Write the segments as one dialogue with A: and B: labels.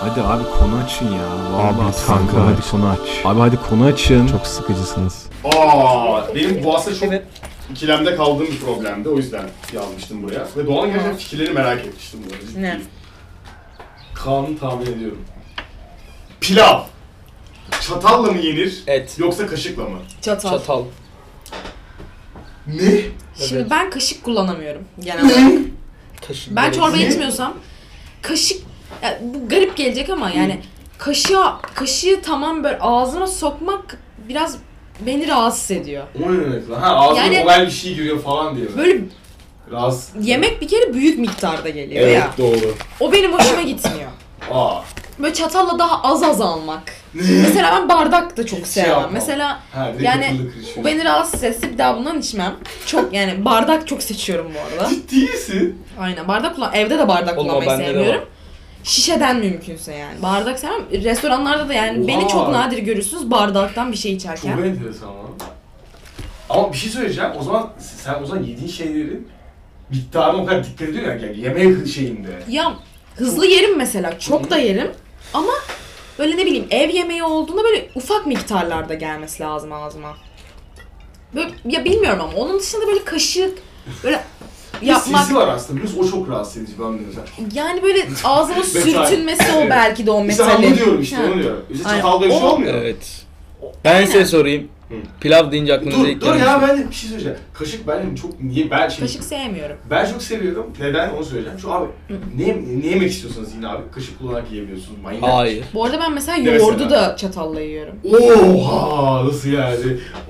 A: Hadi abi konu açın ya. Vallahi
B: Abi,
A: kanka
B: konu
A: hadi
B: aç.
A: konu aç. Abi hadi konu açın.
B: Çok sıkıcısınız.
C: Aa, benim bu aslında çok ikilemde kaldığım bir problemdi. O yüzden yazmıştım buraya. Ve Doğan gerçekten fikirlerini merak etmiştim bu arada.
D: Ne?
C: Kaan'ı tahmin ediyorum. Pilav. Çatalla mı yenir
E: Et.
C: yoksa kaşıkla mı?
D: Çatal.
E: Çatal.
C: Ne?
D: Şimdi
E: Evet.
D: ben kaşık kullanamıyorum genel olarak.
E: Kaşık.
D: Ben çorba
C: Ne?
D: içmiyorsam kaşık ya bu garip gelecek ama yani kaşığa kaşığı tamam böyle ağzına sokmak biraz beni rahatsız ediyor.
C: O ne demek lan? Ha ağzına
D: Yani-
C: kolay bir şey giriyor falan diye. mi?
D: Böyle
C: Rahatsız.
D: yemek bir kere büyük miktarda geliyor
C: Evet
D: ya.
C: doğru.
D: O benim hoşuma gitmiyor.
C: Aa.
D: Böyle çatalla daha az az almak. Mesela ben bardak da çok
C: Hiç şey
D: sevmem.
C: yapmam.
D: Mesela
C: Ha direkt
D: Yani-
C: akıllı kırışıyor.
D: bu beni rahatsız etse bir daha bundan içmem. Çok yani bardak çok seçiyorum bu arada.
C: Değilsin.
D: Aynen bardak kullan. Evde de bardak
E: Oğlum,
D: kullanmayı
E: bende de
D: sevmiyorum. Şişeden mümkünse yani. Bardak sevmem. Restoranlarda da yani
C: Oha.
D: beni çok nadir görürsünüz bardaktan bir şey
C: Çok
D: içerken.
C: enteresan lan. Ama bir şey söyleyeceğim. O zaman sen o zaman yediğin şeylerin miktarına o kadar dikkat ediyorsun ya. Yani yemeğe şeyinde.
D: Ya hızlı yerim mesela. Çok da yerim. Ama böyle ne bileyim ev yemeği olduğunda böyle ufak miktarlarda gelmesi lazım ağzıma. Böyle, ya bilmiyorum ama onun dışında böyle kaşık böyle yapmak
C: Sesi var aslında. Biraz o çok rahatsız edici ben de mesela.
D: yani böyle ağzıma sürtünmesi o
C: Evet.
D: belki de o
C: İşte
D: metalin.
C: onu diyorum işte
D: Ha.
C: onu diyorum. İşte
D: Aynen.
C: çatalda bir şey
D: O-
C: olmuyor.
B: Evet.
E: Ben size sorayım.
C: Hı.
E: Pilav deyince aklınıza
C: Dur,
E: ilk
C: dur
E: gelen
C: ya
E: şey.
C: ben de bir şey söyleyeceğim. Kaşık benim çok niye ben şey
D: Kaşık sevmiyorum.
C: ben çok seviyorum. Neden onu söyleyeceğim. Şu abi ne, ne yemek istiyorsanız yine abi kaşık kullanarak yiyebiliyorsunuz. Manyak.
E: Hayır.
D: Bu arada ben mesela
C: Ne
D: yoğurdu
C: mesela?
D: da çatalla yiyorum.
C: Oha nasıl yani?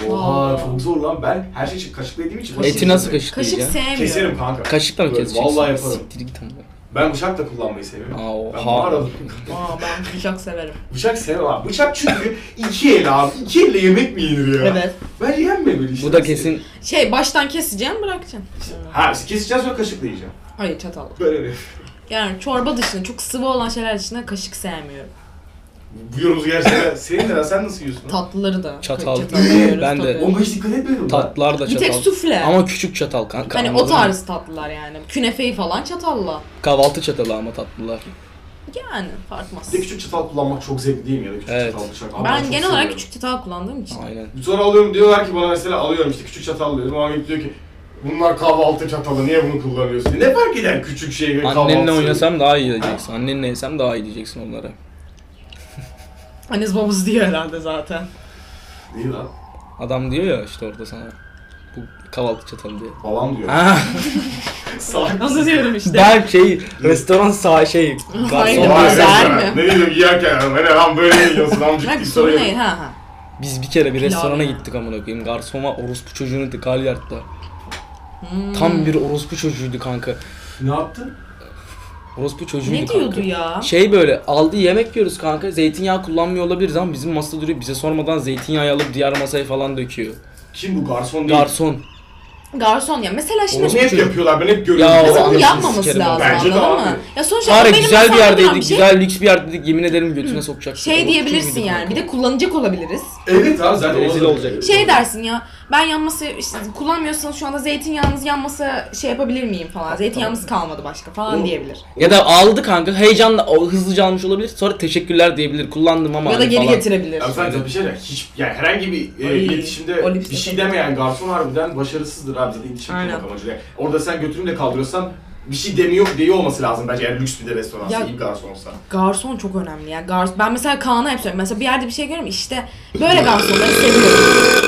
C: Oha
D: Vallahi.
C: çok zor lan ben her şeyi çi- kaşıkla yediğim için
E: Eti nasıl kaşıklayacaksın?
D: Kaşık sevmiyorum.
C: Keserim kanka.
E: Kaşıkla mı
C: Böyle
E: keseceksin?
C: Vallahi yaparım.
E: Siktir git amına.
C: Ben bıçak da kullanmayı seviyorum.
E: Aa,
C: Ben
E: oha.
C: mağaralı.
D: Aa ben bıçak severim.
C: Bıçak sevmem abi. Bıçak çünkü iki el abi. İki elle yemek mi yenir ya?
D: Evet.
C: Ben yenme böyle işte.
E: Bu da kesin
D: Şey baştan keseceğim bırakacaksın.
C: Ha işte keseceğiz sonra kaşıkla yiyeceğim.
D: Hayır çatal.
C: Böyle bir.
D: Yani çorba dışında çok sıvı olan şeyler dışında kaşık sevmiyorum.
C: Bu yorumu gerçekten. Senin de sen nasıl yiyorsun?
D: Tatlıları da.
E: Çatal.
D: yiyoruz
E: Ben de.
D: tabii.
C: Oğlum hiç dikkat etmedim. ben.
E: tatlar da
D: Bir tek
E: çatal.
D: sufle.
E: Ama küçük çatal kanka.
D: hani o
E: anladın mı?
D: tarz tatlılar yani. Künefeyi falan çatalla.
E: Kahvaltı çatalı ama tatlılar.
D: Yani farkmaz.
C: Bir de küçük çatal kullanmak çok zevkli değil mi ya da küçük
E: Evet.
C: çatal bıçak. Ama
D: Ben
C: çok
D: genel olarak
C: seviyorum.
D: küçük çatal kullandığım için.
E: Aynen.
C: Sonra alıyorum diyorlar ki bana mesela alıyorum işte küçük çatal diyorum. Ahmet diyor ki bunlar kahvaltı çatalı niye bunu kullanıyorsun? Ne fark eder küçük şey ve kahvaltı?
E: Annenle oynasam daha iyi diyeceksin. Annenle yesem daha iyi diyeceksin onlara.
D: Anneniz babası diyor herhalde zaten.
C: Değil lan.
E: Adam diyor ya işte orada sana. Bu kahvaltı çatalı diye.
C: Babam diyor.
E: Ha,
C: Salak
D: Nasıl diyorum işte.
E: ben şey restoran sağ şey.
D: Aynen.
E: Garson.
C: Vay be
D: Güzel
C: sana.
D: mi?
C: Ne diyeyim yerken hani lan böyle mi yiyorsun amcık
D: Bak
C: diye
D: soru
C: soruyor.
D: ne? Ha ha.
E: Biz bir kere bir
D: Pilav
E: restorana
D: ya.
E: gittik amına koyayım. Garson var orospu çocuğunu dedi Galyard'da.
D: Hmm.
E: Tam bir orospu çocuğuydu kanka.
C: Ne yaptın?
E: Orospu çocuğuydu
D: Ne
E: kanka.
D: diyordu ya?
E: Şey böyle aldı yemek yiyoruz kanka. Zeytinyağı kullanmıyor olabiliriz ama bizim masada duruyor. Bize sormadan zeytinyağı alıp diğer masaya falan döküyor.
C: Kim bu garson değil?
E: Garson.
D: Garson ya. Mesela
C: Onu
D: şimdi
C: hep
E: çocuğu.
C: yapıyorlar ben hep görüyorum.
E: Ya
D: Mesela onu
E: Bence
D: yapmaması
E: sikerim abi.
D: lazım
C: Bence de
D: anladın
C: abi.
D: mı? Ya sonuçta
E: Bari
D: bu benim
E: güzel bir
D: masamda
E: yerdeydik.
D: duran bir şey.
E: Güzel lüks bir yerdeydik. Yemin ederim götüne sokacak.
D: Şey diyebilirsin yani. Bir de kullanacak olabiliriz.
C: Evet abi zaten
E: Rezil
C: orada-
E: olacak.
D: Şey dersin ya. Ben yan masa işte kullanmıyorsanız şu anda zeytinyağınız yan masa şey yapabilir miyim falan. Zeytinyağımız kalmadı başka falan
C: Oğlum.
D: diyebilir.
E: Ya da aldı kanka. Heyecanla o- hızlıca almış olabilir. Sonra teşekkürler diyebilir. Kullandım ama
D: Ya da
E: hani
D: geri
E: falan.
D: getirebilir.
C: Ya sen de bir şey de hiç yani herhangi bir e,
D: Ay,
C: iletişimde
D: o
C: bir
D: lipstick.
C: şey demeyen garson harbiden başarısızdır abi zaten iletişim
D: Aynen.
C: kurmak amacıyla. Orada sen götürünü de kaldırıyorsan bir şey demiyor diye olması lazım bence eğer lüks bir de restoransa,
D: Ya-
C: iyi bir garsonsa.
D: Garson çok önemli ya. Gars ben mesela Kaan'a hep söylüyorum. Mesela bir yerde bir şey görüyorum işte böyle garsonları seviyorum.